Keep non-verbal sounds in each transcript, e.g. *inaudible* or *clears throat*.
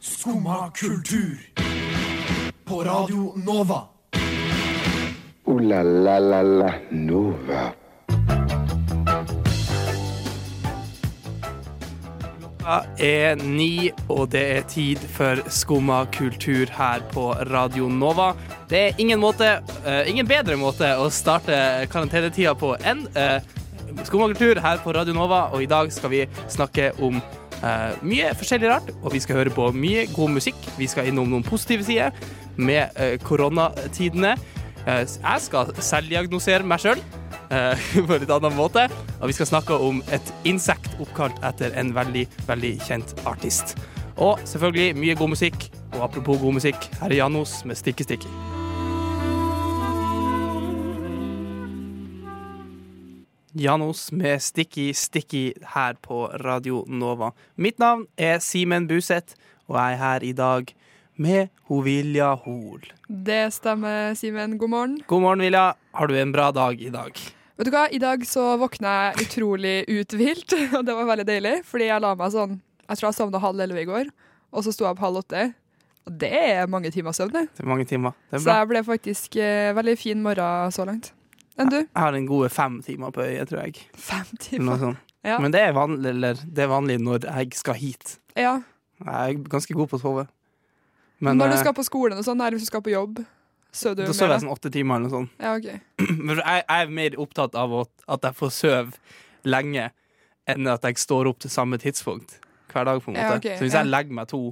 Skumma kultur. På Radio Nova. Ooh la la la la Nova. Klokka er ni, og det er tid for skumma kultur her på Radio Nova. Det er ingen, måte, eh, ingen bedre måte å starte karantenetida på enn uh, skumma kultur her på Radio Nova, og i dag skal vi snakke om eh, mye forskjellig rart, og vi skal høre på mye god musikk. Vi skal innom noen positive sider med eh, koronatidene. Eh, jeg skal selvdiagnosere meg sjøl. *laughs* på en litt annen måte. Og vi skal snakke om et insekt oppkalt etter en veldig, veldig kjent artist. Og selvfølgelig mye god musikk. Og apropos god musikk, her er Janos med Stikke Stikke. Janos med Sticky Sticky her på Radio Nova. Mitt navn er Simen Buseth, og jeg er her i dag med ho Vilja Hol. Det stemmer, Simen. God morgen. God morgen, Vilja. Har du en bra dag i dag? Vet du hva, I dag så våkna jeg utrolig uthvilt, *laughs* og det var veldig deilig. Fordi jeg la meg sånn Jeg tror jeg sovna halv elleve i går, og så sto jeg opp halv åtte. Og det er mange timer søvn, det. Det er mange timer. Det er Så bra. jeg ble faktisk eh, veldig fin morgen så langt. Enn du? Jeg har en gode fem timer på øyet, tror jeg. Fem Eller Noe timer. sånt. Ja. Men det er, vanlig, eller, det er vanlig når jeg skal hit. ja. Jeg er ganske god på å sove. Men Når du eh, skal på skolen og sånn, eller hvis du skal på jobb, sover du da mer? sover jeg sånn åtte timer eller noe sånt. *clears throat* Ja, ok. Men jeg, jeg er mer opptatt av å- at jeg får sove lenge enn at jeg står opp til samme tidspunkt hver dag, på en måte. Ja, ok, Så hvis ja. jeg legger meg to,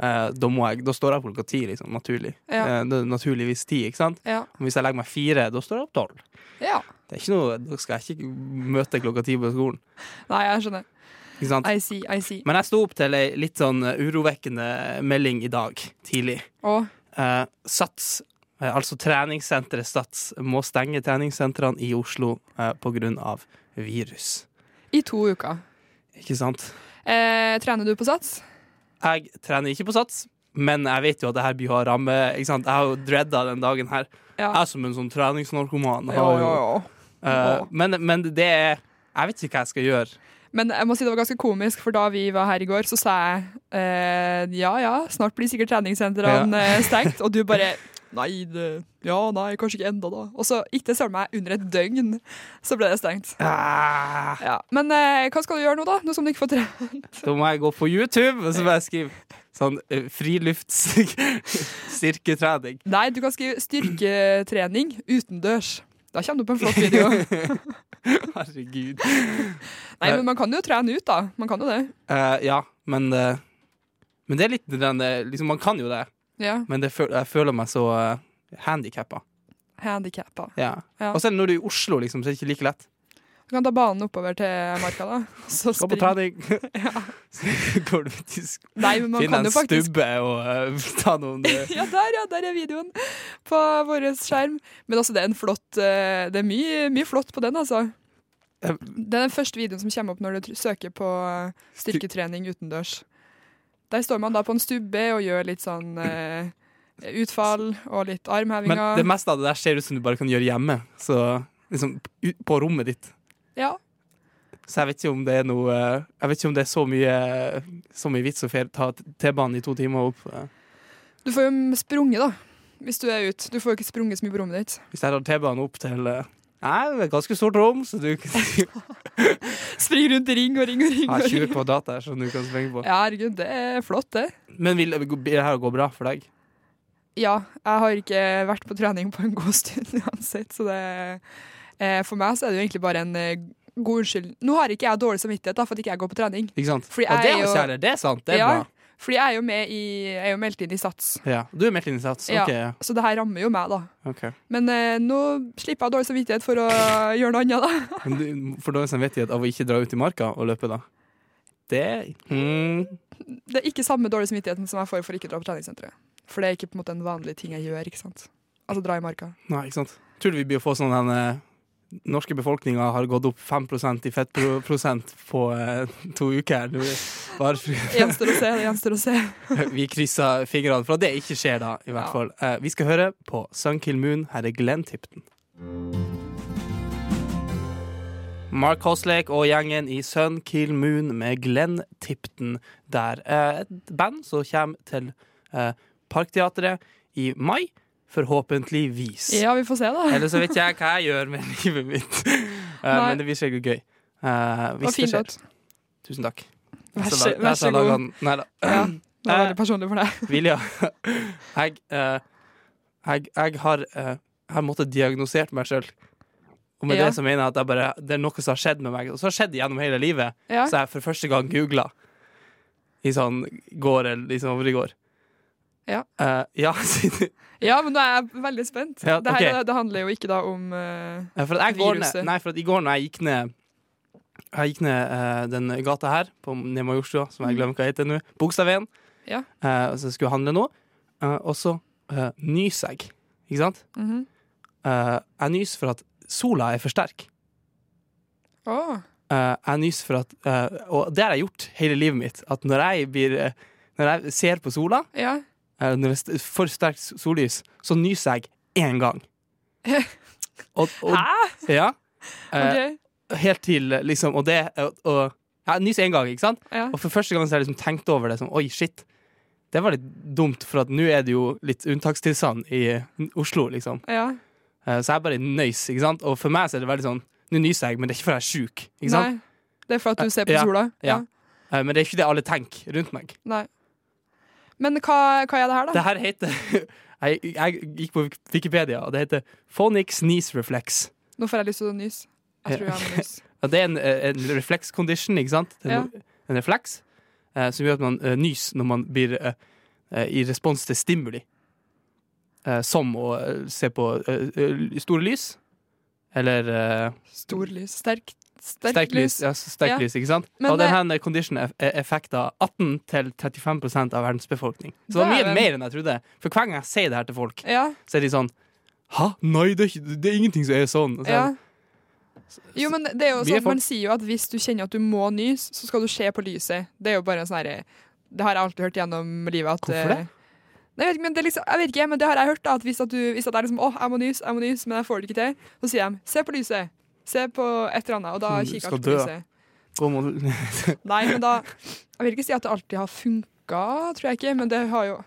eh, da, må jeg, da står jeg opp klokka ti, liksom. Naturlig. Ja. Eh, det er naturligvis ti, ikke sant? Ja. Og hvis jeg legger meg fire, da står jeg opp tolv. ja. Det er ikke noe, da skal jeg ikke møte klokka ti på skolen. Nei, jeg skjønner. Ikke sant? I see, I see. Men jeg sto opp til ei litt sånn eh, urovekkende melding i dag tidlig. Og Eh, Sats, eh, altså treningssenteret Sats, må stenge treningssentrene i Oslo eh, på grunn av virus. i to uker. Ikke sant? Eh, trener du på sats? Jeg trener ikke på Sats, men jeg vet jo at det her blir å ramme. Ikke sant? Jeg har jo dreada den dagen her. Ja. Jeg som en sånn treningsnarkoman. har jo- Eh, men, men det er Jeg vet ikke hva jeg skal gjøre. Men jeg må si det var ganske komisk, for da vi var her i går, så sa jeg eh, ja ja, snart blir sikkert treningssentrene eh, stengt, og *laughs* du bare nei, det, ja nei, kanskje ikke enda da. Og så gikk det søren meg under et døgn, så ble det stengt. Ah. Ja. Men eh, hva skal du gjøre nå, da? Nå som du ikke får tre... *laughs* Da må jeg gå på YouTube og så bare skrive sånn eh, friluftsstyrketrening. *laughs* Nei, du kan skrive styrketrening utendørs. Da kommer du på en flott *laughs* video. Herregud. Nei, men man kan jo trene ut, da. Man kan jo det. Eh, ja, men eh, Men det er litt den eh, liksom, Man kan jo det, Ja. men det føl jeg føler meg så uh, handikappa. Handikappa. Ja. Ja. Og selv når du er i Oslo, liksom, så er det ikke like lett. Du kan ta banen oppover til marka, da. Så Gå på spring. trening. *laughs* *laughs* Så går du faktisk Nei, men man Finn kan en jo faktisk stubbe og eh, *laughs* ta noen eh, *laughs* Ja, der, ja, der er videoen på vår skjerm. Men altså, det er en flott eh, Det er mye, mye flott på den, altså. Eh, Det er den første videoen som kommer opp når du tr- søker på eh, styrketrening utendørs. Der står man da på en stubbe og gjør litt sånn eh, utfall og Men litt det armhevinger. meste av det der ser ut som du bare kan gjøre hjemme. Så liksom ut- på rommet ditt. Ja. Så jeg vet ikke om det er noe Jeg vet ikke om det er så mye, så mye vits å fer- ta T-banen i to timer opp. eh, Du får jo sprunget, da. Hvis du er ute. Du får jo ikke sprunget så mye på rommet ditt. Hvis jeg tar T-banen opp til eh, Nei, det er et ganske stort rom, så du kan *laughs* Jeg Spring rundt i ring og ring og ring. har og 20 ring. kvadrat der som du kan springe på. Ja, herregud, det er flott, det. Men vil vil det her gå bra for deg? Ja, jeg har ikke vært på trening på en god stund *laughs* uansett, så det eh, For meg så er det jo egentlig bare en eh, god unnskyld. Nå har ikke jeg dårlig samvittighet da, for at ikke jeg går på trening. Ikke sant? Fordi ja, det jeg er er jo jo- kjære, det er sant. Det er Ja, bra. Fordi jeg er jo med i Jeg er jo meldt inn i Sats, Ja. Du er meldt inn i sats? Ja. OK. Ja. så det her rammer jo meg, da. ok. Men eh, nå slipper jeg dårlig samvittighet for å gjøre noe annet, da. *laughs* Men du får dårlig samvittighet av å ikke dra ut i marka og løpe, da? Det mm, Det er ikke samme dårlige samvittigheten som jeg får for ikke å dra på treningssenteret. For det er ikke på en måte en vanlig ting jeg gjør, ikke sant. Altså dra i marka. Nei, ikke sant. Tror du vi blir å få sånn den eh, norske befolkninga har gått opp 5 i fettprosent på eh, to uker? Du, bare for, Gjenstår å se, det gjenstår å se. *laughs* vi krysser fingrene for at det ikke skjer, da, i hvert Ja. fall. Eh, vi skal høre på Sunkill Moon. Her er Glenn Tipton. Mark Hoslake og gjengen i Sun Kill Moon med Glenn Tipton der. Eh, Et band som kommer til eh, Parkteatret i mai, forhåpentligvis. Ja, vi får se, da. Eller så vet jeg hva jeg gjør med *laughs* livet mitt. Eh, Nei. men det blir sikkert gøy. Eh, Det var hvis det fin skjer. låt. Tusen takk. Vær Så så, la- vær så så lager god. han- Nei da. Ja, det var eh, veldig personlig *laughs* for deg. Vilja, jeg, eh, jeg, jeg har eh, Jeg har måttet diagnosert meg sjøl. Og med Ja. det så mener jeg at jeg bare, det er noe som har skjedd med meg, og så har det skjedd gjennom hele livet. Ja. Så jeg for første gang googla i sånn går eller liksom over i går. Ja. Eh, ja, *laughs* siden *laughs* ja, men nå er jeg veldig spent. Ja, det, her, ok. det handler jo ikke da om eh, Ja, for at jeg går ned, Viruset. nei, for at i går når jeg gikk ned Jeg gikk ned eh, den gata her, på ned Majorstua, som jeg glemmer hva heter nå, Bogstadveien, Mm. Ja. eh, og så skulle jeg handle nå, eh, og så eh, nyser jeg, ikke sant? mhm. Eh, jeg nyser for at sola er for sterk. Åh. Eh, jeg nyser for at eh, Og det har jeg gjort hele livet mitt, at når jeg blir eh, når jeg ser på sola, Ja. eh, når det er st- for sterkt s- sollys, så nyser jeg én *laughs* gang. Og, og, Hæ? Ja. Eh, Ok. helt til liksom, Og det og, og, Jeg nyser én gang, ikke sant? Ja. Og for første gang så har jeg liksom tenkt over det som Oi, shit. Det var litt dumt, for at nå er det jo litt unntakstilstand i Oslo, liksom. ja. Eh, Så jeg bare nøys, ikke sant? Og for meg så er det veldig sånn Nå nyser jeg, men det er ikke fordi jeg er sjuk, ikke sant? Nei. Det er for at du ser på Ja, sola? ja. Eh, Men det er ikke det alle tenker rundt meg. Nei. Men hva, hva er det her, da? Det her heter *laughs* jeg, jeg gikk på Wik- Wikipedia, og det heter phonic sneeze reflex. Nå får jeg lyst til å nyse. Jeg tror jeg har *laughs* nys. Og det er en, eh, en reflex condition, ikke sant? Det er Ja. no- En refleks eh, som gjør at man eh, nyser når man blir eh, eh, i respons til stimuli. Eh, som å eh, se på eh, eh, store lys, eller eh, Stor lys. Sterk, sterk, sterkt lys. lys. Ja, s- sterkt Ja. lys, ikke sant? Men og det- denne conditionen eff- eh, er effekta 18-35 av verdens befolkning. Så det var mye Dæven. mer enn jeg trodde. For hver gang jeg sier det her til folk, Ja. så er de sånn Hæ? Nei, det er, ikke, det er ingenting som er sånn. Og så er ja. jeg Jo, men det er Mye jo sånn at folk. Man sier jo at hvis du kjenner at du må nys, så skal du se på lyset. Det er jo bare en sånn herre Det har jeg alltid hørt gjennom livet. At, Hvorfor det? eh, Nei, jeg vet, ikke, men det er liksom, jeg vet ikke, men det har jeg hørt. da, at Hvis, at du, hvis at jeg liksom, åh, jeg må nys, jeg må nys, men jeg får det ikke til, så sier de 'se på lyset', 'se på et eller annet', og da Men du Mm, kikker jeg skal alltid på dø. lyset. God måned. Nei, men da Jeg vil ikke si at det alltid har funka, tror jeg ikke, men det har jo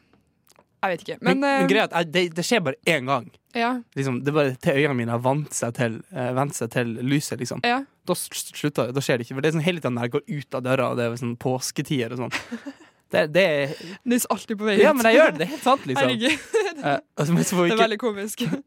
Jeg vet ikke. *laughs* Men, Men, eh, men greia er at jeg- det, det skjer bare én gang. Ja. liksom, det er bare til øynene mine har vant seg til, eh, vant seg til lyset, liksom. ja. Da s- s- slutter det. Da skjer det ikke. For det er sånn hele tiden når jeg går ut av døra, og det er sånn påsketider og sånn. *laughs* Det, det er, Nys alltid på vei ut. ja, men jeg *laughs* gjør det. Det er helt sant, liksom. Herregud, Eh, altså, men så får vi det er ikke, veldig komisk.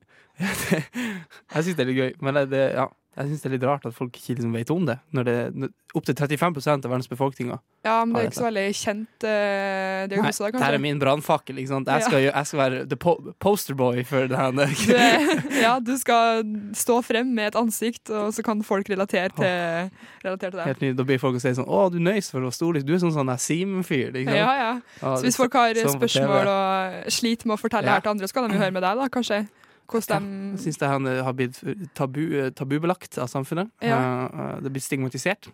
jeg syns det er litt gøy, men det, det- ja, jeg synes det er litt rart at folk ikke liksom vet om det. Når det når, Opptil 35 av verdens befolkning. Ja, men det er ikke så veldig kjent eh, diagnose, da, Det her er kanskje. min brannfakkel. ikke sant? Jeg skal, gjø- jeg skal være the po posterboy for det her. Du, er- ja, du skal stå frem med et ansikt, og så kan folk relatere til, relatere til det. Helt ny, da blir folk og sier sånn Å, du nøys for å stole Du er sånn sånn der Simen-fyr. ikke sant? Ja, ja. Ja, Så det- hvis folk har sånn på TV. spørsmål og sliter med å fortelle Ja. her til andre, så kan de jo høre med deg, da, kanskje. Hvordan Jeg de syns det her har blitt tabu, tabubelagt av samfunnet. Eh, eh, det blir stigmatisert.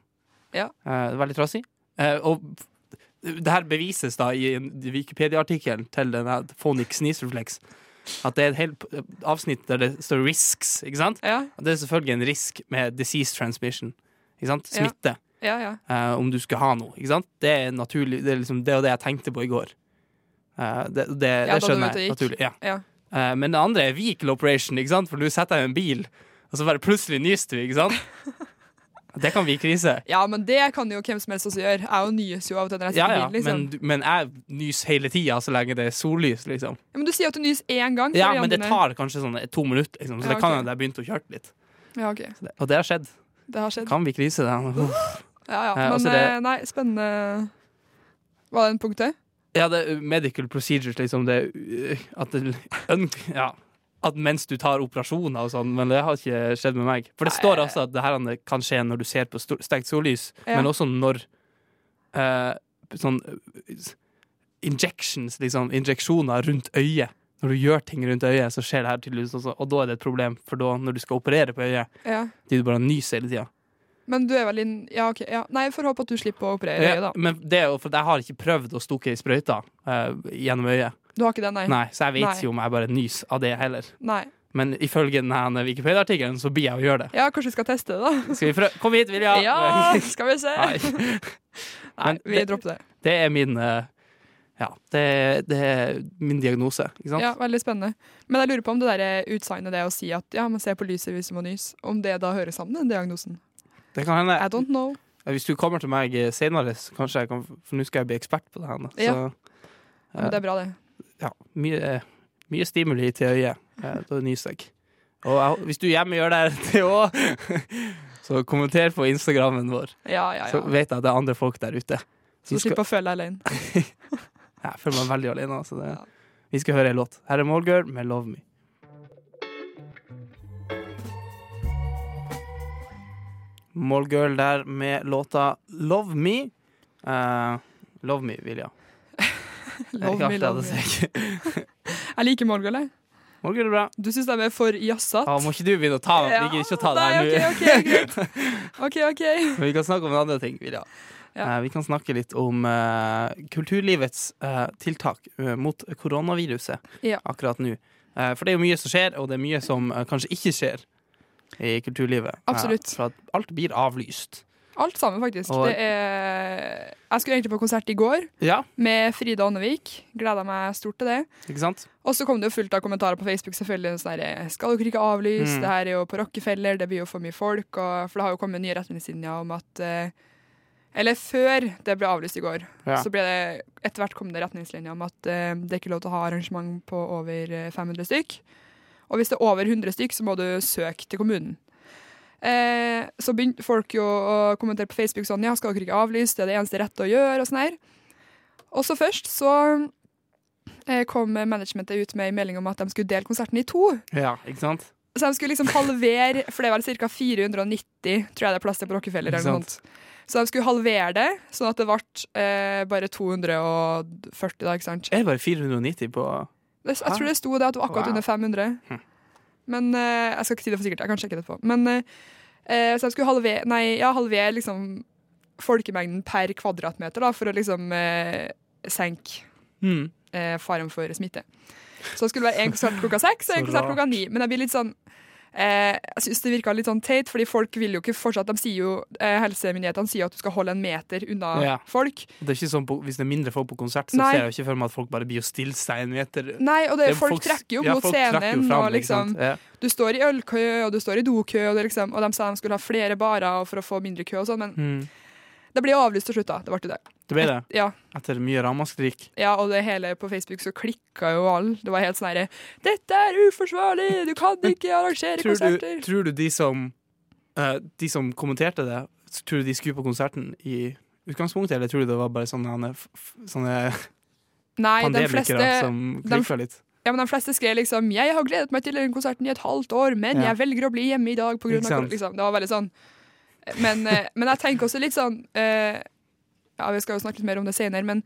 Ja. Eh, det er veldig trasig. Eh, og det her bevises da i en Wikipedia-artikkelen til denne Phonic Sneeze Reflex. At det er et helt avsnitt der det står 'risks'. ikke sant? Ja, Og det er selvfølgelig en risk med disease transmission. Ikke sant? Ja. Smitte. ja, ja. eh, om du skal ha noe. Ikke sant? Det er naturlig, det er liksom det og det jeg tenkte på i går. Eh, det, det, Ja, da det du skjønner ute jeg og gikk. naturlig. Ja. ja. Eh, men det andre er vehicle operation, ikke sant? for du setter deg i en bil, og så bare plutselig nyser du, ikke sant? *laughs* Det kan bli krise. Ja, men det kan jo hvem som helst også gjøre. Jeg jo nyes jo av og til når jeg Ja, sitter i ja, bilen, liksom. men, du- men jeg nyser hele tida så lenge det er sollys, liksom. Ja, men du sier jo at du nys én gang. så Ja, er men det andre- tar kanskje sånn to minutter, liksom, så Ja, det kan ok. hende jeg begynte å kjøre litt. Ja, ok. Så det- Og det har skjedd. Det har skjedd. Kan bli krise, det. *laughs* Uff. Ja, ja. Eh, Men altså, det- eh, nei, spennende. Var det en punkt til? Ja, det er medical procedures, liksom. Det, øh, at, det, un, ja, at mens du tar operasjoner og sånn, men det har ikke skjedd med meg. For det Nei. står altså at det her kan skje når du ser på sto- sterkt sollys, Ja. men også når eh, sånn øh, injections, liksom, injeksjoner rundt øyet. Når du gjør ting rundt øyet, så skjer det her tydeligvis også, og da er det et problem, for da, når du skal operere på øyet, Ja. de du bare nyser hele tida. Men du er vel inn... Ja, ok. Ja. Nei, jeg får håpe at du slipper å operere øyet, Ja, da. men det er jo for jeg har ikke prøvd å stukke i sprøyta eh, gjennom øyet. Du har ikke det, nei? Nei, så jeg vet Nei. ikke om jeg bare nyser av det heller. Nei. men ifølge denne Wikipedia-artikkelen så blir jeg å gjøre det. Ja, kanskje vi skal teste det, da? Skal vi prøve? Kom hit, Vilja! *laughs* Ja, skal vi se. *laughs* Nei. *laughs* Nei, Men vi det, dropper det. det er min eh, Ja, det, det er min diagnose, ikke sant? Ja, Veldig spennende. Men jeg lurer på om det der utsagnet det å si at ja, man ser på lyset hvis man nyser, om det da hører sammen med den diagnosen? Det kan hende. I don't know. Hvis du kommer til meg senere, så kanskje jeg kan For nå skal jeg bli ekspert på det her. nå. Så eh, Ja. Men det er bra, det. ja, mye, eh, mye stimuli til øyet. Eh, Da nyser jeg. Og jeg, hvis du hjemme gjør det *laughs* det òg, så kommenter på Instagrammen vår. Ja, ja, Så ja. vet jeg at det er andre folk der ute. Så Vi du skal, slipper å føle deg *laughs* alene. jeg føler meg veldig alene. Altså det. Ja. Vi skal høre en låt. Her er Målgirl med 'Love Me'. Målgirl der med låta 'Love Me'. Eh, love me, Vilja. Love me, love me. Jeg liker Målgirl, jeg. *laughs* Målgirl er bra. Du syns de er for jazzete? Ah, må ikke du begynne å ta meg? Ja, Vi gidder ikke å ta det her nå. nei, OK, ok, greit. OK, OK. Men vi kan snakke om andre ting. Vilja. Ja. Eh, vi kan snakke litt om eh, kulturlivets eh, tiltak eh, mot koronaviruset Ja. akkurat nå. Eh, for det er jo mye som skjer, og det er mye som eh, kanskje ikke skjer i kulturlivet. Eh, Absolutt. for at alt blir avlyst. Alt sammen, faktisk. Og- Det er Jeg skulle egentlig på konsert i går Ja, med Frida Ånnevik. Gleda meg stort til det. ikke sant? Og så kom det jo fullt av kommentarer på Facebook. selvfølgelig sånn der, Skal dere ikke avlyse? Mm. Det her er jo på Rockefeller, det blir jo for mye folk. Og, for det har jo kommet nye retningslinjer om at eh, Eller før det ble avlyst i går, Ja. så ble det etter hvert kom det retningslinjer om at eh, det er ikke lov til å ha arrangement på over eh, 500 stykk. Og hvis det er over 100 stykk, så må du søke til kommunen. Eh, så begynte folk jo å kommentere på Facebook sånn Ja, skal dere ikke avlyse? Det er det eneste rette å gjøre, og sånn her. Og så først så eh, kom managementet ut med en melding om at de skulle dele konserten i to. Ja, ikke sant? Så de skulle liksom halvere, for det er vel ca. 490 tror jeg det er plass til på Rockefeller. Ikke Eller noe sånt. Så de skulle halvere det, sånn at det ble eh, bare 240, da, ikke sant. Er det bare 490 på Det- Jeg tror det sto det at det var akkurat Ah. Wow. Hm. under 500. Men eh, jeg skal ikke si det for sikkert, jeg kan sjekke det etterpå. Men eh, eh, så jeg skulle halvere, nei, ja, halvere liksom folkemengden per kvadratmeter da, for å liksom eh, senke mm. eh, faren for smitte. Så skulle det være én konsert klokka seks og *laughs* Så én konsert rart. klokka ni. Men jeg blir litt sånn eh, Jeg syns det virka litt sånn teit, fordi folk vil jo ikke fortsatt De sier jo, eh, helsemyndighetene sier at du skal holde en meter unna Ja. folk. Det er ikke sånn på, Hvis det er mindre folk på konsert, så Nei. ser jeg jo ikke for meg at folk bare blir å stille seg en meter. Nei, og det, Det er folk, trekker jo opp ja, mot folk trekker jo scenen, fram, og ikke sant? liksom Ja. Du står i ølkø, og du står i dokø, og, det liksom, og de sa de skulle ha flere barer for å få mindre kø og sånn, men Mm. det ble jo avlyst til slutt, da. Det ble jo det. Det ble det. Ja. Etter mye ramaskrik. Ja, og det hele på Facebook så klikka jo alle. Det var helt sånn herre Dette er uforsvarlig! Du kan ikke arrangere tror konserter! du, tror du de som eh, De som kommenterte det, tror du de skulle på konserten i utgangspunktet, eller tror du det var bare sånne, herne- f- f- sånne Nei, de pandemikere fleste, som klikka litt? ja, men de fleste skrev liksom 'Jeg har gledet meg til den konserten i et halvt år, men Ja. jeg velger å bli hjemme i dag' på grunn Ikke av sant? korona». liksom, Det var veldig sånn. Men, eh, men jeg tenker også litt sånn eh, Ja, vi skal jo snakke litt mer om det senere, men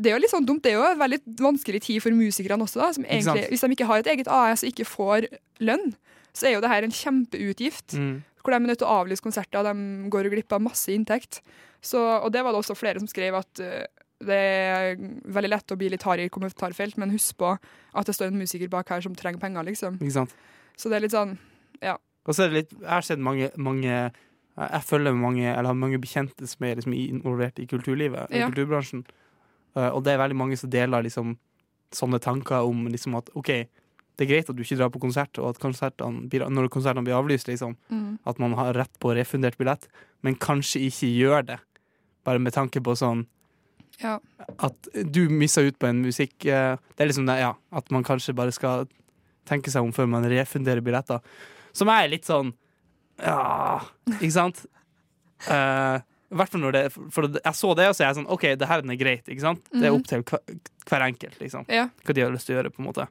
det er jo litt sånn dumt. Det er jo en veldig vanskelig tid for musikerne også, da. Som sant? egentlig, hvis de ikke har et eget AS og ikke får lønn, så er jo det her en kjempeutgift. Mm. Hvor de er nødt til å avlyse konserter, og de går jo glipp av masse inntekt. Så, og det var det også flere som skrev at eh, det er veldig lett å bli litt hard i kommentarfelt, men husk på at det står en musiker bak her som trenger penger, liksom. Ikke sant? Så det er litt sånn Og så er det litt Jeg har sett mange, mange jeg- Jeg følger mange Eller har mange bekjente som er liksom involvert i kulturlivet, i Ja. kulturbransjen, Eh, og det er veldig mange som deler liksom sånne tanker om liksom at OK, det er greit at du ikke drar på konsert, og at konsertene blir, når konsertene blir avlyst, liksom. at man har rett på refundert billett, men kanskje ikke gjør det. Bare med tanke på sånn Ja. At du misser ut på en musikk eh, Det er liksom det, ja. At man kanskje bare skal tenke seg om før man refunderer billetter. Som er litt sånn Ja, ikke sant? Eh, I hvert fall når det For jeg så det, og så er jeg sånn OK, det her den er greit, ikke sant? Det er opp til hver, hver enkelt, liksom. Ja. Hva de har lyst til å gjøre, på en måte.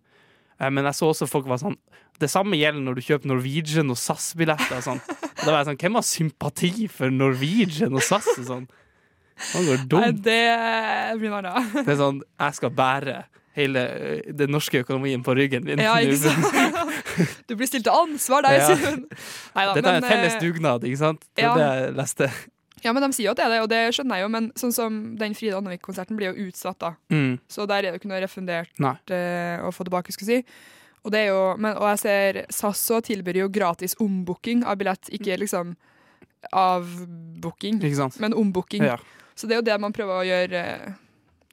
Eh, Men jeg så også folk var sånn Det samme gjelder når du kjøper Norwegian og SAS-billetter. og Sånn. Og Da var jeg sånn Hvem har sympati for Norwegian og SAS? Og sånn. Man går Nei, dumt. det blir noe annet. Det er sånn Jeg skal bære hele ø, den norske økonomien på ryggen min. Ja, ikke *laughs* Nå. sant? *laughs* Du blir stilt til ansvar der, Ja. sier hun. Neida, Dette er en men, felles eh, dugnad, ikke sant? Det ja. var det jeg leste. Ja, men de sier jo at det er det, og det skjønner jeg jo, men sånn som den Frida Andevik-konserten blir jo utsatt, da. Mm. Så der er det jo ikke noe refundert Nei. eh, å få tilbake, skulle jeg si. Og, det er jo, men, og jeg ser SAS også tilbyr jo gratis ombooking av billett, ikke liksom avbooking, Mm. Ikke sant? men ombooking. Ja. Så det er jo det man prøver å gjøre eh,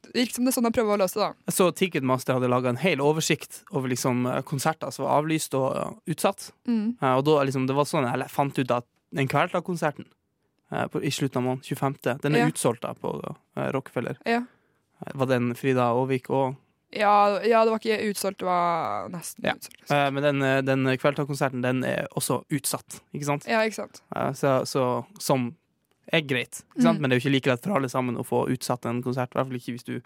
Det virker som det er sånn de prøver å løse det, da. Jeg så Ticketmaster hadde laga en hel oversikt over liksom eh, konserter som var avlyst og eh, utsatt. Mm. Eh, Og da, liksom, det var sånn jeg fant ut at den Kvelertak-konserten eh, på- i slutten av måneden, 25., den er Ja. utsolgt da på eh, Rockefeller. Ja. Eh, Var den Frida Aavik òg? Ja, ja, det var ikke utsolgt, det var nesten Ja. utsolgt. liksom. Men den, eh, den Kvelertak-konserten den er også utsatt, ikke sant? Ja, ikke sant. Eh, Så, så som er greit, ikke sant? Mm. men det er jo ikke like lett for alle sammen å få utsatt en konsert. I hvert fall ikke hvis du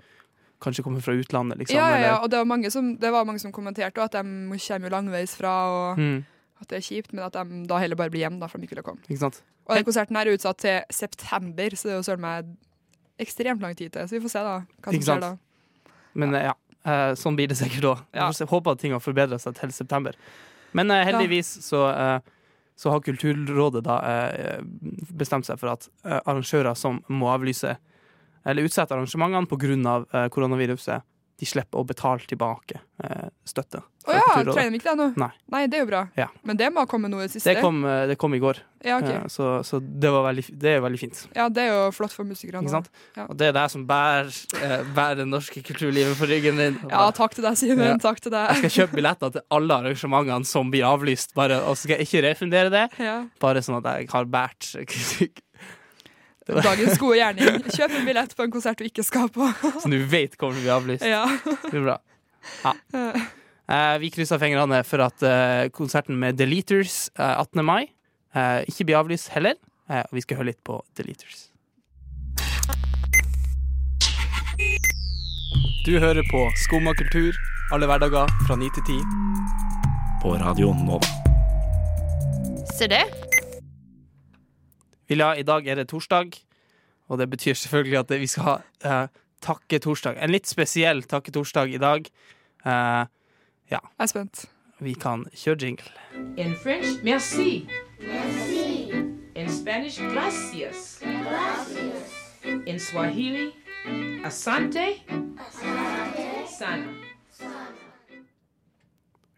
kanskje kommer fra utlandet, liksom. ja, ja, ja, eller- og det var mange som, det var mange som kommenterte også at de kommer jo langveis fra, og Mm, at det er kjipt, men at de da heller bare blir hjemme, da, for de ikke ville komme. ikke sant? Og den konserten her er utsatt til september, så det er jo søren meg ekstremt lang tid til. Så vi får se da hva som Ikke sant? skjer da. Men eh, ja, eh, sånn blir det sikkert òg. Ja. Håper at ting har forbedra seg til september. Men eh, heldigvis så, eh, så har Kulturrådet da eh, bestemt seg for at eh, arrangører som må avlyse eller utsette arrangementene pga. Eh, koronaviruset, de slipper å betale tilbake eh, støtte. Å fra ja, Kulturrådet. trenger de ikke det nå? Nei. det er jo bra. Ja. Men det må komme noe i det siste. det, kom, eh, det kom i går, Ja, ok. eh, så, så det, var veldig, fi- det er veldig fint. ja, det er jo flott for musikerne. Ikke sant? Ja. Og det er det som bærer, eh, bærer det norske kulturlivet på ryggen din. Ja, takk til deg, Simen. Ja. Takk til Jeg deg. skal kjøpe billetter til alle arrangementene som blir avlyst, bare, og så skal jeg ikke refundere det. *laughs* Ja. Bare sånn at jeg har båret *laughs* kritikk, Dagens gode gjerning. Kjøp en billett på en konsert du ikke skal på. *laughs* så du vet kommer til å bli avlyst. Ja. Det blir bra. Ja. Eh, vi krysser fingrene for at eh, konserten med Deleters eh, 18. mai eh, ikke blir avlyst heller. Eh, og vi skal høre litt på Deleters. Du hører på Skumma kultur alle hverdager fra 9 til 10. På Radio Nova. Se det. Vilja, i dag er det torsdag, og det betyr selvfølgelig at vi skal ha eh, takke-torsdag. En litt spesiell takke-torsdag i dag. Eh, Jeg er spent. vi kan kjøre jingle. In French, merci. Merci. In Spanish, gracias. Gracias. In Swahili, asante. Asante. Sana.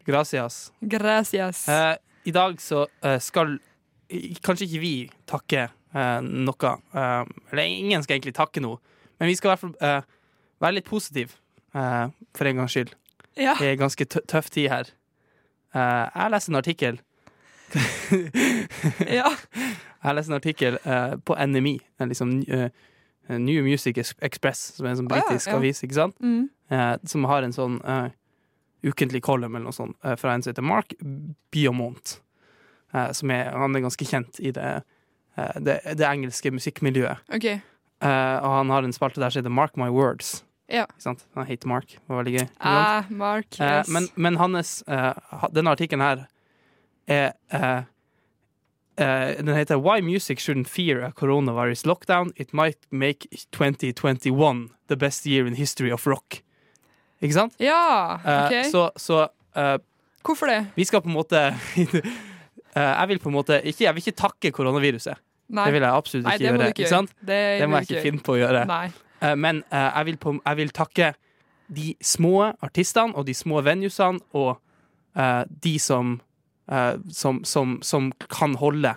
Gracias. Gracias. Eh, I dag så eh, skal i- kanskje ikke vi takke eh, noe. eh, eller ingen skal egentlig takke noe, men vi skal i hvert fall eh, være litt positive, eh, for en gangs skyld. Ja. Det er ganske tø tøff tid her. Eh, jeg leste en artikkel ja. Jeg leste en artikkel eh, på NMI, en liksom, eh, New Music Ex- Express, som er en sånn Å ja, britisk ja. avis, ikke sant? Mm. Eh, som har en sånn eh, ukentlig column eller noe sånt, eh, fra en som heter Mark Biomont. eh, som er, han er ganske kjent i det, eh, det, det engelske musikkmiljøet. OK. Eh, og han har en spalte der som heter Mark My Words. Ja. Ikke sant? Han heter Mark. Det var veldig gøy. ikke sant? Eh, Mark. Eh, Yes. men, men hans eh, ha- Denne artikkelen her er eh, eh, Den heter Why music shouldn't fear a coronavirus lockdown. It might make 2021 the best year in history of rock. Ikke sant? ja, Eh, OK. Så, så eh, Hvorfor det? vi skal på en måte *laughs* Eh, Jeg vil på en måte ikke, Jeg vil ikke takke koronaviruset. Nei. Det vil jeg absolutt Nei, ikke det må gjøre. du ikke sant? gjøre. Det, Det må må du jeg ikke finne på å gjøre. Nei. Eh, Men eh, jeg, vil på, jeg vil takke de små artistene og de små venuesene og eh, de som, eh, som, som, som kan holde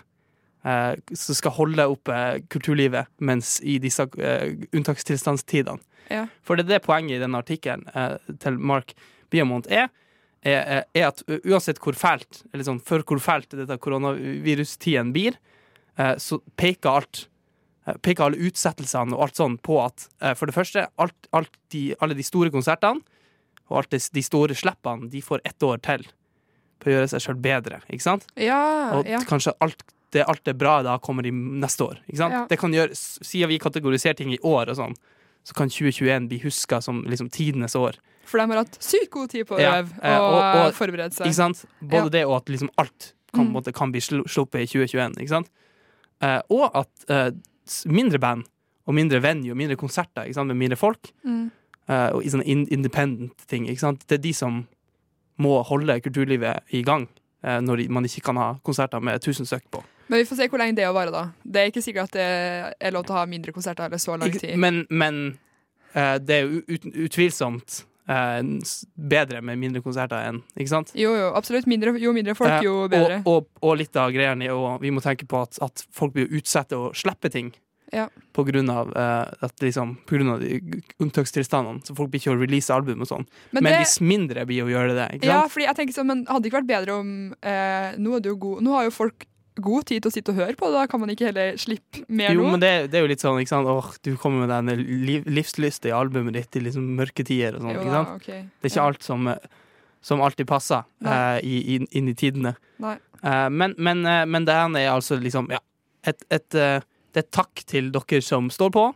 eh, Som skal holde oppe kulturlivet mens i disse eh, unntakstilstandstidene. Ja. For det er det poenget i den artikkelen eh, til Mark Biamont er. Er, er at uansett hvor fælt Eller sånn, for hvor fælt dette koronavirustiden blir, eh, så peker alt eh, peker alle utsettelsene og alt sånn på at eh, for det første, alt, alt de, alle de store konsertene og alt det, de store slippene, de får ett år til på å gjøre seg sjøl bedre, ikke sant? Ja, Og ja. kanskje alt det, alt det bra da kommer i neste år, ikke sant? Ja. Det kan gjøre, s- siden vi kategoriserer ting i år og sånn, så kan 2021 bli huska som liksom tidenes år, For de har hatt sykt god tid på å Ja, øve eh, og, og- og- eh, forberede seg. ikke sant? Både Ja. Mm. det og at liksom alt kan, på en måte, kan bli slu- sluppet i 2021, ikke sant? Eh, og at eh, s- mindre band og mindre venue og mindre konserter ikke sant? med mindre folk Mm. eh, og i sånne in independent ting. Ikke sant? Det er de som må holde kulturlivet i gang eh, når de- man ikke kan ha konserter med tusen søk på. Men vi får se hvor lenge det å vare, da. Det er ikke sikkert at det er lov til å ha mindre konserter eller så lang Ikke- tid. Men, men eh, det er jo ut, utvilsomt eh, s- bedre med mindre konserter enn Ikke sant? Jo, jo, absolutt. Mindre, jo mindre folk, Eh, jo bedre. Og, og, og litt av greiene i å- Vi må tenke på at, at folk blir utsatt til å slippe ting. Ja. På grunn av, eh, at liksom, på grunn av de unntakstilstandene. Så folk blir ikke å release album og sånn. Men, det- de mindre blir å gjøre det. Ikke Ja, sant? fordi jeg tenker sånn, men hadde det ikke vært bedre om eh, nå, er det jo god, nå har jo folk god tid til å sitte og høre på, da kan man ikke heller slippe mer Jo, nå. men det, det er jo litt sånn ikke sant? Åh, Du kommer med denne liv, livslysta i albumet ditt i liksom mørke tider og sånn. Jo Ikke da, sant? ok. Det er ikke Ja. alt som, eh, som alltid passer Nei. eh, i, inn- inn i tidene. Nei. Eh, men, men, eh, men det her er altså liksom ja, et, et, eh, Det er et takk til dere som står på.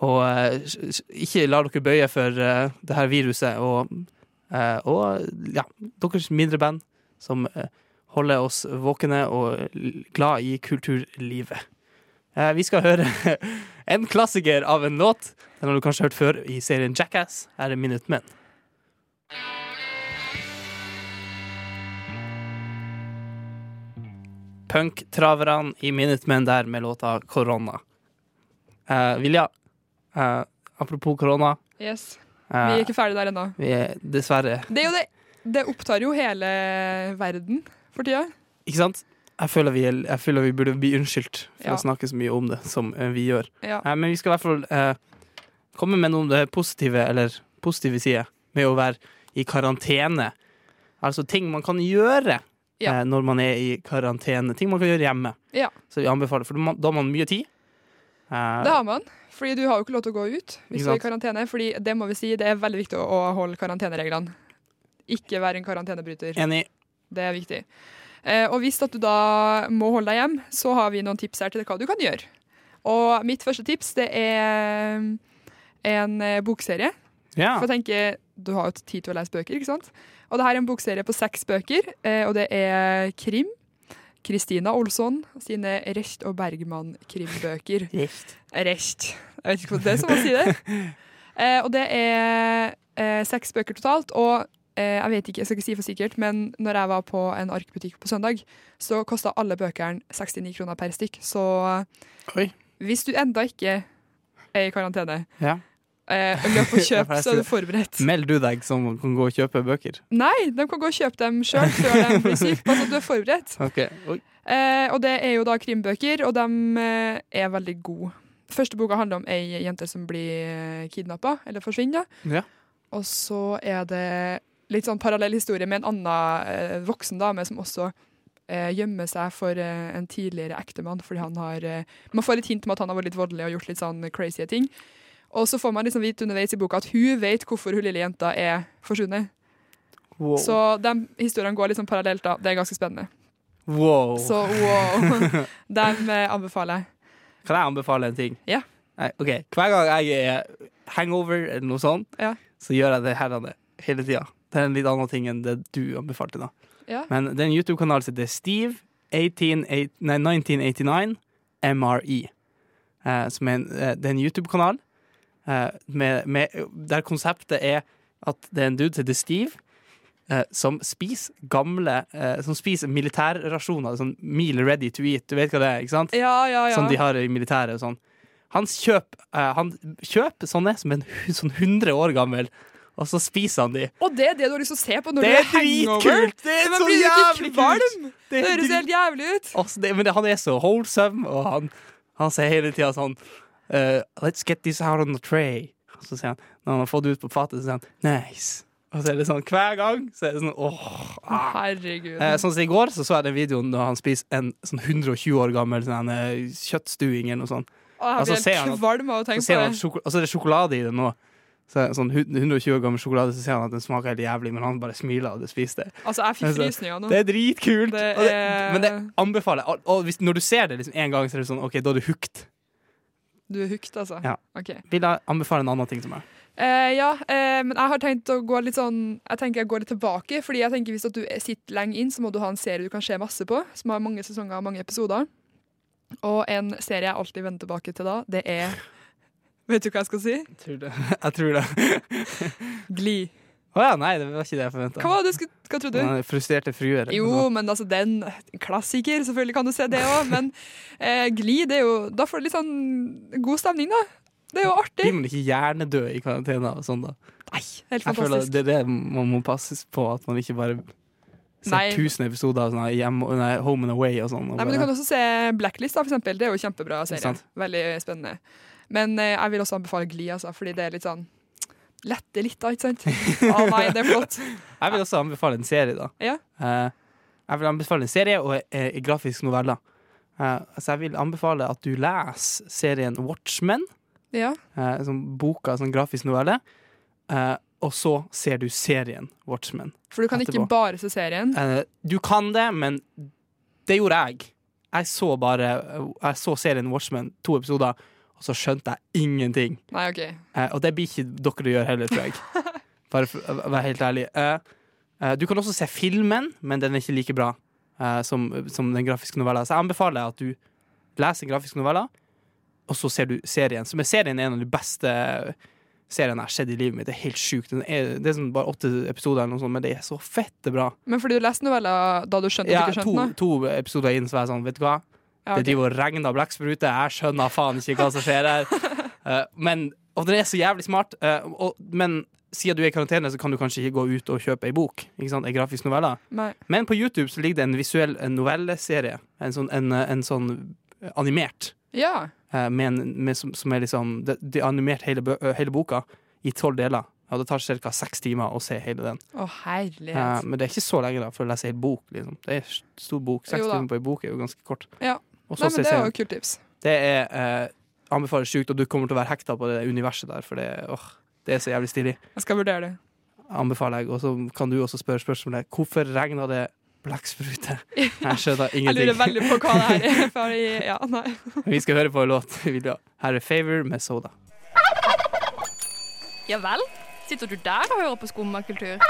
Og eh, s- s- ikke la dere bøye for eh, det her viruset. Og, eh, og ja, deres mindre band som eh, holder oss våkne og l- glad i kulturlivet. Eh, vi skal høre *laughs* en klassiker av en låt. Den har du kanskje hørt før i serien Jackass. Her er Minutemenn. punktraverne i Minutemen der med låta 'Korona'. Eh, Vilja, eh, apropos korona Yes. eh, Vi er ikke ferdig der ennå. vi er dessverre Det er jo det. Det opptar jo hele verden for tida. Ikke sant? Jeg føler vi, jeg føler vi burde bli unnskyldt for Ja. å snakke så mye om det som eh, vi gjør. Ja. Eh, men vi skal i hvert fall eh, komme med noen det positive, eller positive sider med å være i karantene. Altså ting man kan gjøre Ja. eh, når man er i karantene. Ting man kan gjøre hjemme. Ja. Så vi anbefaler, for da man- da har man mye tid. Eh, Det har man. Fordi du har jo ikke lov til å gå ut Ikke hvis du er sant? i karantene. Fordi det må vi si, det er veldig viktig å å holde karantenereglene. Ikke være en karantenebryter. enig. Det er viktig. Eh, og hvis at du da må holde deg hjem, så har vi noen tips her til hva du kan gjøre. Og mitt første tips, det er en eh, bokserie. Ja. For jeg tenker, du har jo tid til å lese bøker, ikke sant? Og det her er en bokserie på seks bøker, eh, og det er krim. Kristina Olsson sine Rest og Bergman-krimbøker. Rest. Jeg vet ikke hva det er som å si det. *laughs* Eh, og det er eh, seks bøker totalt, og eh, jeg vet ikke, jeg skal ikke si for sikkert, men når jeg var på en arkbutikk på søndag, så kosta alle bøkene 69 kroner per stykk. Så eh, Oi. hvis du enda ikke er i karantene, Ja. eh, løp og *laughs* Ja, kjøp, for jeg så sier er det. du forberedt. Meld du deg som kan gå og kjøpe bøker? Nei, de kan gå og kjøpe dem sjøl før de blir syke. Bare sånn at du er forberedt. Eh, og det er jo da krimbøker, og de eh, er veldig gode. Første boka handler om ei jente som blir kidnappa, eller forsvinner. Ja. Og så er det litt sånn parallell historie med en annen eh, voksen dame som også eh, gjemmer seg for eh, en tidligere ektemann, fordi han har eh, Man får litt hint om at han har vært litt voldelig og gjort litt sånn crazy ting. Og så får man liksom vite underveis i boka at hun vet hvorfor hun lille jenta er forsvunnet. Wow. Så de historiene går liksom parallelt, da. Det er ganske spennende. wow. Så *laughs* wow. Dem eh, anbefaler jeg. Kan jeg anbefale en ting? Ja. Nei, ok. Hver gang jeg er hangover eller noe sånt, Ja. så gjør jeg det her og det hele tida. Det er en litt annen ting enn det du anbefalte. da Ja. Men det er en YouTube-kanal som heter Steve 18, eight- nei, 1989 MRE. E, Eh, som er en, eh, det er en YouTube-kanal eh, med, med, der konseptet er at det er en dude som heter Steve, eh, som spiser gamle eh, Som spiser militærrasjoner. Sånn meal ready to eat. Du vet hva det er, ikke sant? Ja, ja, ja. som de har i militæret og sånn. Han kjøper, eh, han kjøper sånne som er en hu- sånn 100 år gammel, og så spiser han de. Og det er det du har lyst til å se på når Det du er er hangover? dritkult! Det er Men så blir du jævlig ikke kult! kvalm? Det Det er høres drit- helt jævlig ut. Altså, det, men det, han er så wholesome, og han, han sier hele tida sånn eh, Let's get this out on the tray. Og så sier han, når han har fått det ut på fatet, så sier han nice. Og så er det sånn hver gang. Så er det sånn åh. ah. Herregud. Eh, sånn som I går så, så jeg den videoen da han spiser en sånn 120 år gammel sånn, eh, kjøttstuing eller noe sånt. Å, altså, jeg ser blir han at- helt kvalm av å Så tenke ser på han at det. sjoko- og så er det sjokolade i det nå. Så er det sånn hu- 120 år gammel sjokolade, så ser han at den smaker helt jævlig, men han bare smiler og det spiser det. Altså, jeg fikk Altså, frysninger nå. Det er dritkult! Det og det, er- men det anbefaler jeg. Og- Og hvis, når du ser det liksom en gang, så er det sånn OK, da er du hooked. Du er hooked, altså. Ja. Ok. Vil jeg anbefale en annen ting til meg? Eh, ja, eh, men jeg har tenkt å gå litt sånn Jeg tenker jeg går litt tilbake. Fordi jeg tenker Hvis at du sitter lenge inn, så må du ha en serie du kan se masse på. Som har mange sesonger og mange episoder. Og en serie jeg alltid vender tilbake til da, det er *laughs* Vet du hva jeg skal si? *laughs* Jeg tror det. Glee. Å ja, nei, det var ikke det jeg forventa. Hva var det du skulle Hva trodde du? Frustrerte fruer. sånn, eller Jo, noe sånt. men altså, det er en klassiker. Selvfølgelig kan du se det òg, men eh, Glee, det er jo Da får du litt sånn god stemning, da. Det er jo De artig. må ikke hjernedø i karantene og sånn, da. Nei, helt Jeg føler at fantastisk. det er det man må passe på, at man ikke bare ser Nei. tusen episoder av sånne hjemme, nei, Home and Away og sånn. og Nei, men Du bare- kan også se Blacklist, da, for eksempel. Det er jo kjempebra serie. sant. Veldig spennende. Men eh, jeg vil også anbefale Gli, altså, fordi det er litt sånn Lette litt, da, ikke sant? *laughs* Å nei, det er flott. Jeg vil også anbefale en serie, da. Ja. Eh, jeg vil anbefale en serie og eh, grafisk novelle. Eh, så jeg vil anbefale at du leser serien Watchmen, Ja. eh, som boka, sånn grafisk novelle, eh, og så ser du serien Watchmen. For du kan ikke Etterpå. bare se serien. Eh, du kan det, men det gjorde jeg. Jeg så bare eh, Jeg så serien Watchmen, to episoder, og så skjønte jeg ingenting. Nei, OK. Eh, og det blir ikke dere å gjøre heller, tror jeg. *laughs* Bare for å være helt ærlig. Eh, eh, du kan også se filmen, men den er ikke like bra eh, som, som den grafiske novella. Så jeg anbefaler at du leser grafiske noveller, og så ser du serien. Som er serien er en av de beste eh, seriene jeg har sett i livet mitt. Det er helt sjukt. Den er- Det er sånn bare åtte episoder, eller noe sånt, men det er så fette bra. Men fordi du leste noveller da du skjønte Ja, at du ikke to, skjønte noe? to episoder inn, så var jeg sånn, vet du hva? Ja, ok. Det driver og regner blekkspruter. Jeg skjønner faen ikke hva som skjer her. *laughs* Eh, men, og den er så jævlig smart. eh, og, men siden du er i karantene, så kan du kanskje ikke gå ut og kjøpe ei bok. Ikke sant? Ei grafisk novelle. Nei. Men på YouTube så ligger det en visuell en novelleserie. En sånn, en, eh, en sånn animert. Ja. eh, med en, med, som, som er liksom Det de har animert hele, bø- eh, hele boka i tolv deler. Og det tar ca. seks timer å se hele den. Å, Eh, herlighet. men det er ikke så lenge da for å lese ei bok. Liksom. Det er en stor bok. Seks Jo da. timer på ei bok er jo ganske kort. Ja. Og så Nei, se men det serien. er jo et kult tips. Det er eh, anbefaler sjukt, og du kommer til å være hekta på det universet der, for det, åh, det er så jævlig stilig. Jeg skal vurdere det. Anbefaler jeg. Og så kan du også spørre spørsmålet hvorfor regna det *laughs* blekksprute? Jeg skjønner Jeg lurer ingenting. veldig på hva det her *laughs* er. *laughs* For jeg, ja, nei. Vi skal høre på en låt. Vi vil ha Her er Favor med Soda. Ja vel? Sitter du der og hører på skummakultur?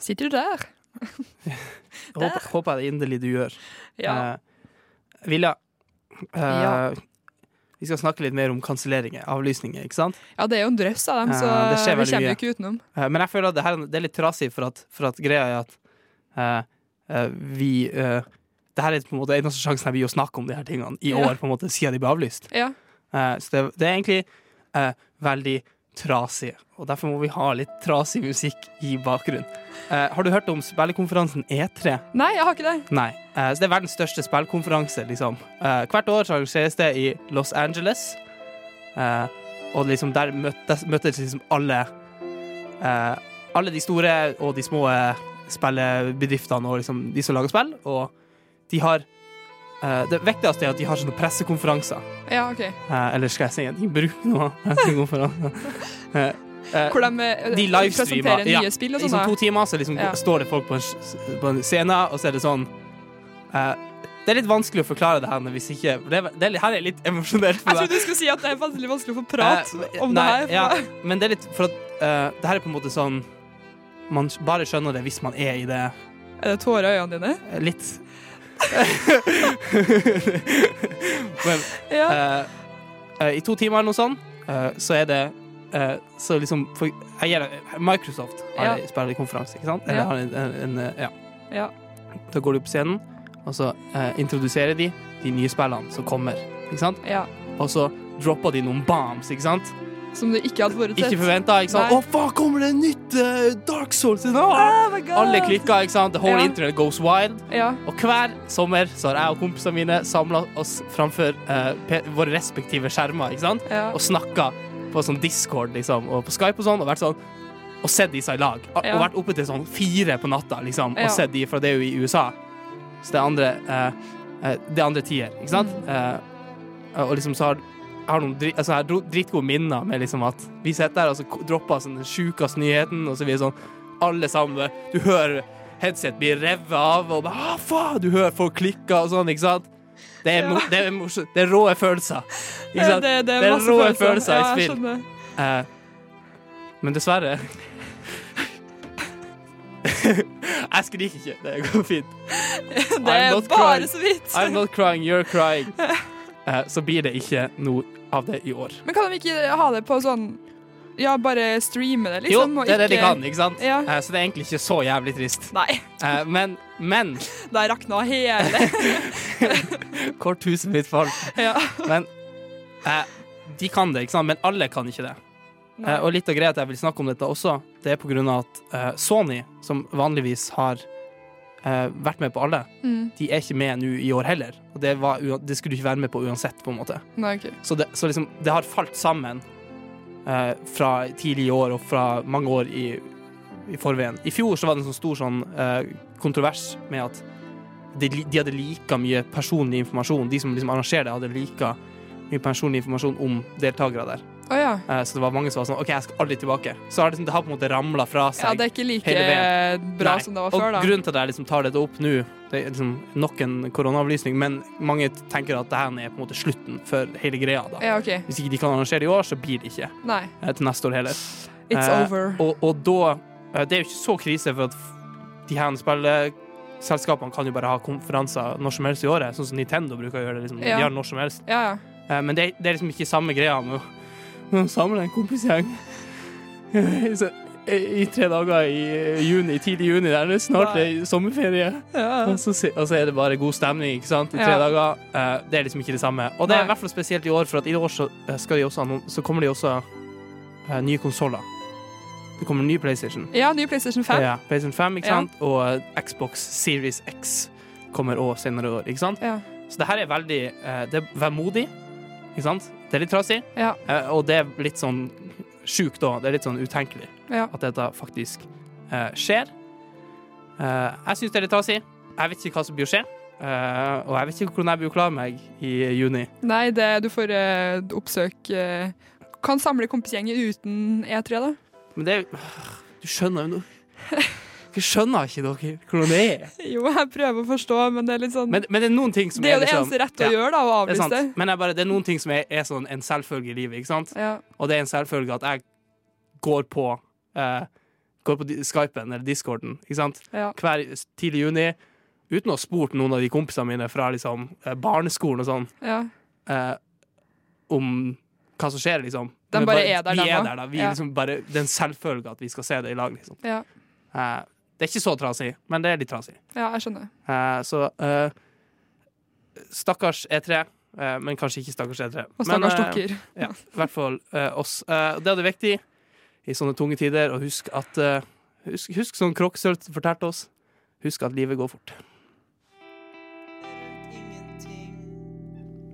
Sitter du der? Håper, håper jeg inderlig du gjør. Ja. Eh, Vilja, eh, Ja. vi skal snakke litt mer om kanselleringer, avlysninger, ikke sant? ja, det er jo en drøss av dem, Ja, så det skjer vi veldig kommer mye. jo ikke utenom. Eh, Men jeg føler at det, her, det er litt trasig, for at, for at greia er at eh, eh, vi uh, Det her er på en måte eneste sjansen jeg blir å snakke om de her tingene i Ja. år, på en måte, siden de ble avlyst. Ja. Eh, så det, det er egentlig eh, veldig trasig, og derfor må vi ha litt trasig musikk i bakgrunnen. Eh, har du hørt om spillekonferansen E E3? Nei, jeg har ikke det. Nei. Eh, så det er verdens største spillkonferanse, liksom. Eh, hvert år så arrangeres det i Los Angeles. Eh, og liksom der møttes, møttes liksom alle eh, Alle de store og de små eh, spillebedriftene og liksom de som lager spill. Og de har eh, Det viktigste er at de har sånne pressekonferanser. Ja, ok. Eh, eller skal jeg si at de bruker noe *laughs* pressekonferanser? Eh, eh, Hvor de, eh, de livestreamer. presenterer nye ja. spill og I sånn. sånn da. to timer så liksom Ja. står det folk på en, s- på en scene, og så er det sånn eh, Det er litt vanskelig å forklare det her men hvis ikke det, er- det er, Her er jeg litt emosjonelt Jeg for trodde du skulle si at det er vanskelig, vanskelig å få prat Eh, om nei, det her. ja, men det er litt For at eh, det her er på en måte sånn Man s- bare skjønner det hvis man er i det *laughs* Er det tårer i øynene dine? eh, litt. *laughs* men Ja. Eh, eh, I to timer eller noe sånt, eh, så er det eh, Så liksom for, jeg gir, deg- Microsoft har Ja. en spillerkonferanse, ikke sant? Eller Ja. har en, en, en eh, ja. Ja. Da går du på scenen, og så eh, introduserer de de nye spillene som kommer. Ikke sant? ja. Og så dropper de noen bombs, ikke sant? Som du ikke hadde vært Ikke forventa. Ikke sant? Nei. Å, faen, kommer det en nytt eh, Dark Souls? Ah! Oh my God. Alle klikker, ikke sant? The whole Ja. internet goes wild. Ja. Og hver sommer så har jeg og kompisene mine samla oss framfor eh, pe- våre respektive skjermer, ikke sant? Ja. og snakka på sånn Discord liksom, og på Skype og sånn, og vært sånn og sett disse i lag. Og, og Ja. vært oppe til sånn fire på natta, liksom, Ja. og sett de, for det er jo i USA. Så det er andre eh, eh, Det er andre tider, ikke sant? Mm. Eh, og liksom så har jeg har noen dri, altså, jeg har dro- dritgode minner med liksom at vi sitter der og så ko- dropper sånn den sjukeste nyheten, og så er vi sånn alle sammen Du hører headset blir revet av, og bare, ah, faen! Du hører folk klikke og sånn, ikke sant? Det er, mo- det er, morsomt. det er rå følelser. Ikke sant? Eh, Det, det er, Det er masse rå følelser. følelser i Ja, jeg spill. skjønner. *laughs* Eh, men dessverre *laughs* Jeg skriker ikke. Det går fint. Det I'm er not bare crying. så vidt. I'm not crying, you're crying. Eh, så blir det ikke noe av det i år. Men kan de ikke ha det på sånn Ja, bare streame det, Jo, liksom? og det er det de ikke- kan, ikke sant? Ja. Eh, så det er egentlig ikke så jævlig trist. Nei, *laughs* Eh, men, men da rakna hele *laughs* Kort huset mitt fall. ja. Men eh, de kan det, ikke sant? men alle kan ikke det. Eh, og litt av greia at jeg vil snakke om dette også, det er på grunn av at eh, Sony, som vanligvis har eh, vært med på alle, Mm. de er ikke med nå i år heller. Og det, var, ua- det skulle du ikke være med på uansett, på en måte. Nei, ok. Så det, så liksom, det har falt sammen eh, fra tidlig i år og fra mange år i, i forveien. I fjor så var det en sånn stor sånn, eh, kontrovers med at de, li- de hadde like mye personlig informasjon. De som liksom arrangerer det, hadde like mye personlig informasjon om deltakere der. Å ja. Eh, så det var mange som var sånn OK, jeg skal aldri tilbake. Så har det, liksom, det har på en måte ramla fra seg. ja. Det er ikke like Hele bra Nei. som det var før, da. Og grunnen til at jeg liksom tar dette opp nå, det er liksom nok en koronaavlysning, men mange tenker at dette er på en måte slutten for hele greia. da. Ja, OK. Hvis ikke de kan arrangere i år, så blir det ikke Nei. eh, til neste år heller. It's Eh, over. Og, og da eh, Det er jo ikke så krise, for at f- de her spillselskapene kan jo bare ha konferanser når som helst i året, sånn som Nintendo bruker å gjøre det. liksom. Ja. De har når som helst. Ja, ja. Eh, Men det, det er liksom ikke samme greia med å, med å samle en kompisgjeng *laughs* Så, eh, i tre dager i eh, juni, tidlig juni. Det er det snart eh, sommerferie. Og, så, se- og så er det bare god stemning ikke sant? i tre Ja. dager. Eh, det er liksom ikke det samme. Og det er i Nei. hvert fall spesielt i år, for at i år så, eh, skal de også, ha noen- så kommer de også eh, nye konsoller. Det kommer ny PlayStation. Ja, ny PlayStation 5. Ja, PlayStation 5 ikke Ja. sant? og eh, Xbox Series X kommer òg senere i år. ikke sant? Ja. Så det her er veldig eh, Det er vemodig, ikke sant? Det er litt trasig, Ja. eh, og det er litt sånn sjukt òg. Det er litt sånn utenkelig Ja. at dette faktisk eh, skjer. Eh, jeg syns det er litt trasig. Jeg vet ikke hva som blir å skje. eh, og jeg vet ikke hvordan jeg blir å klare meg i juni. Nei, det, du får eh, oppsøke eh, Kan samle kompisgjengen uten E3, da. *laughs* Men det er jo Du skjønner jo noe Dere skjønner ikke dere hvordan det er. Jo, jeg prøver å forstå, men det er litt sånn Men, men det er noen ting som Det er jo det liksom- eneste rette å Ja, gjøre, da, å Det er avlyse det. sant. Men jeg bare, det er noen ting som er, er sånn en selvfølge i livet, ikke sant? Ja. Og det er en selvfølge at jeg går på eh, Går på di- Skypen eller Discorden ikke sant? Ja. hver tidlig juni uten å ha spurt noen av de kompisene mine fra liksom, eh, barneskolen og sånn ja. eh, om hva som skjer, liksom. De Men bare er der, vi de er også. der, da. Vi Ja. liksom bare, det er en selvfølge at vi skal se det i lag, liksom. Ja. Eh, det er ikke så trasig, men det er litt trasig. ja, jeg skjønner. Eh, så eh, stakkars E3, eh, men kanskje ikke stakkars E3. Og Men, stakkars eh, dokker. ja, i hvert fall eh, oss. Eh, og det er det viktig i sånne tunge tider, og husk at eh, Husk, husk som Kroksølt fortalte oss, husk at livet går fort.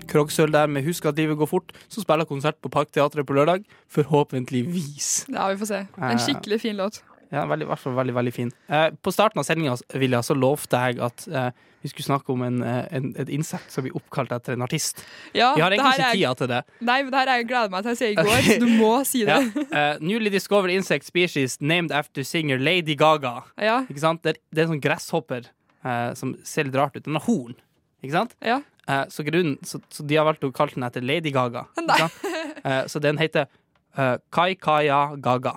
Kroksøl der med 'Husk at livet går fort', som spiller konsert på Parkteatret på lørdag. Forhåpentligvis. Ja, vi får se. Eh, En skikkelig fin låt. Ja, veldig, i hvert fall veldig, veldig fin. Eh, på starten av sendinga, Vilja, så lovte jeg at eh, vi skulle snakke om en, eh, en, et insekt som blir oppkalt etter en artist. Ja, Vi har det egentlig her ikke tida er- til Ah, det. Nei, men det her har jeg gleda meg til jeg *laughs* sier i går, Ok. så du må si det. Ja. Eh, newly discovered insect species named after singer Lady Gaga. Ja. Ikke sant? Det, er, det er en sånn gresshopper eh, som ser litt rart ut. Den har horn. Ikke sant? Ja. Eh, så, grunnen, så, så de har valgt å kalle den etter Lady Gaga. ikke Nei. sant? Eh, så den heter eh, Kaikaya Gaga.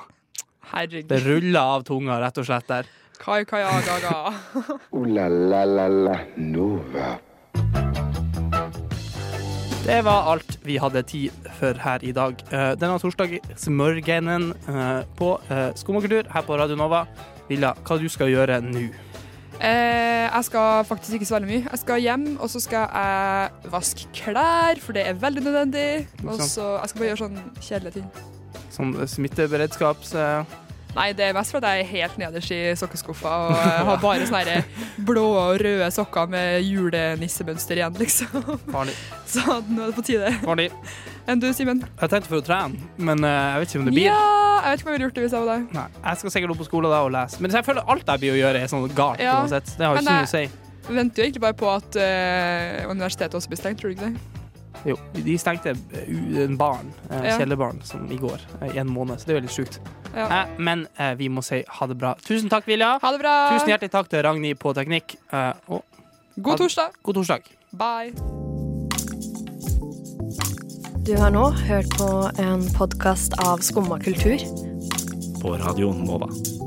Det Herregud. ruller av tunga, rett og slett, der. Kai Kaja Gaga. Ooh la la la la Nova. Det var alt vi hadde tid for her i dag. Eh, denne torsdagsmorgenen eh, på eh, Skum og kultur her på Radio Nova. Villa, hva du skal gjøre nå? Eh, jeg skal faktisk ikke så veldig mye. Jeg skal hjem, og så skal jeg vaske klær, for det er veldig nødvendig. Og sant. så Jeg skal bare gjøre sånn kjedelige ting. Sånn smitteberedskaps... eh, Nei, det er mest fordi jeg er helt nederst i sokkeskuffa og eh, *laughs* har bare sånne her blå og røde sokker med julenissemønster igjen, liksom. *laughs* farlig. Så nå er det på tide. farlig. Enn du, Simen? Jeg tenkte for å trene, men eh, jeg vet ikke om det blir. Ja, jeg vet ikke om jeg ville gjort det hvis jeg var deg. Nei, jeg skal sikkert opp på skolen da og lese. Men jeg føler alt jeg blir å gjøre, er sånn galt Ja. uansett. Det har jo Men ikke noe å si. Venter jo egentlig bare på at eh, universitetet også blir stengt, tror du ikke det? Jo, de stengte u- en barn, eh, Ja. kjellerbarn, som i går, eh, i en måned. Så det er jo litt sjukt. Ja. Eh, men eh, vi må si ha det bra. Tusen takk, Vilja. Ha det bra! Tusen hjertelig takk til Ragnhild på Teknikk. Eh, og God torsdag! god torsdag. Bye! Du har nå hørt på en podkast av Skumma kultur. På Radio Nova.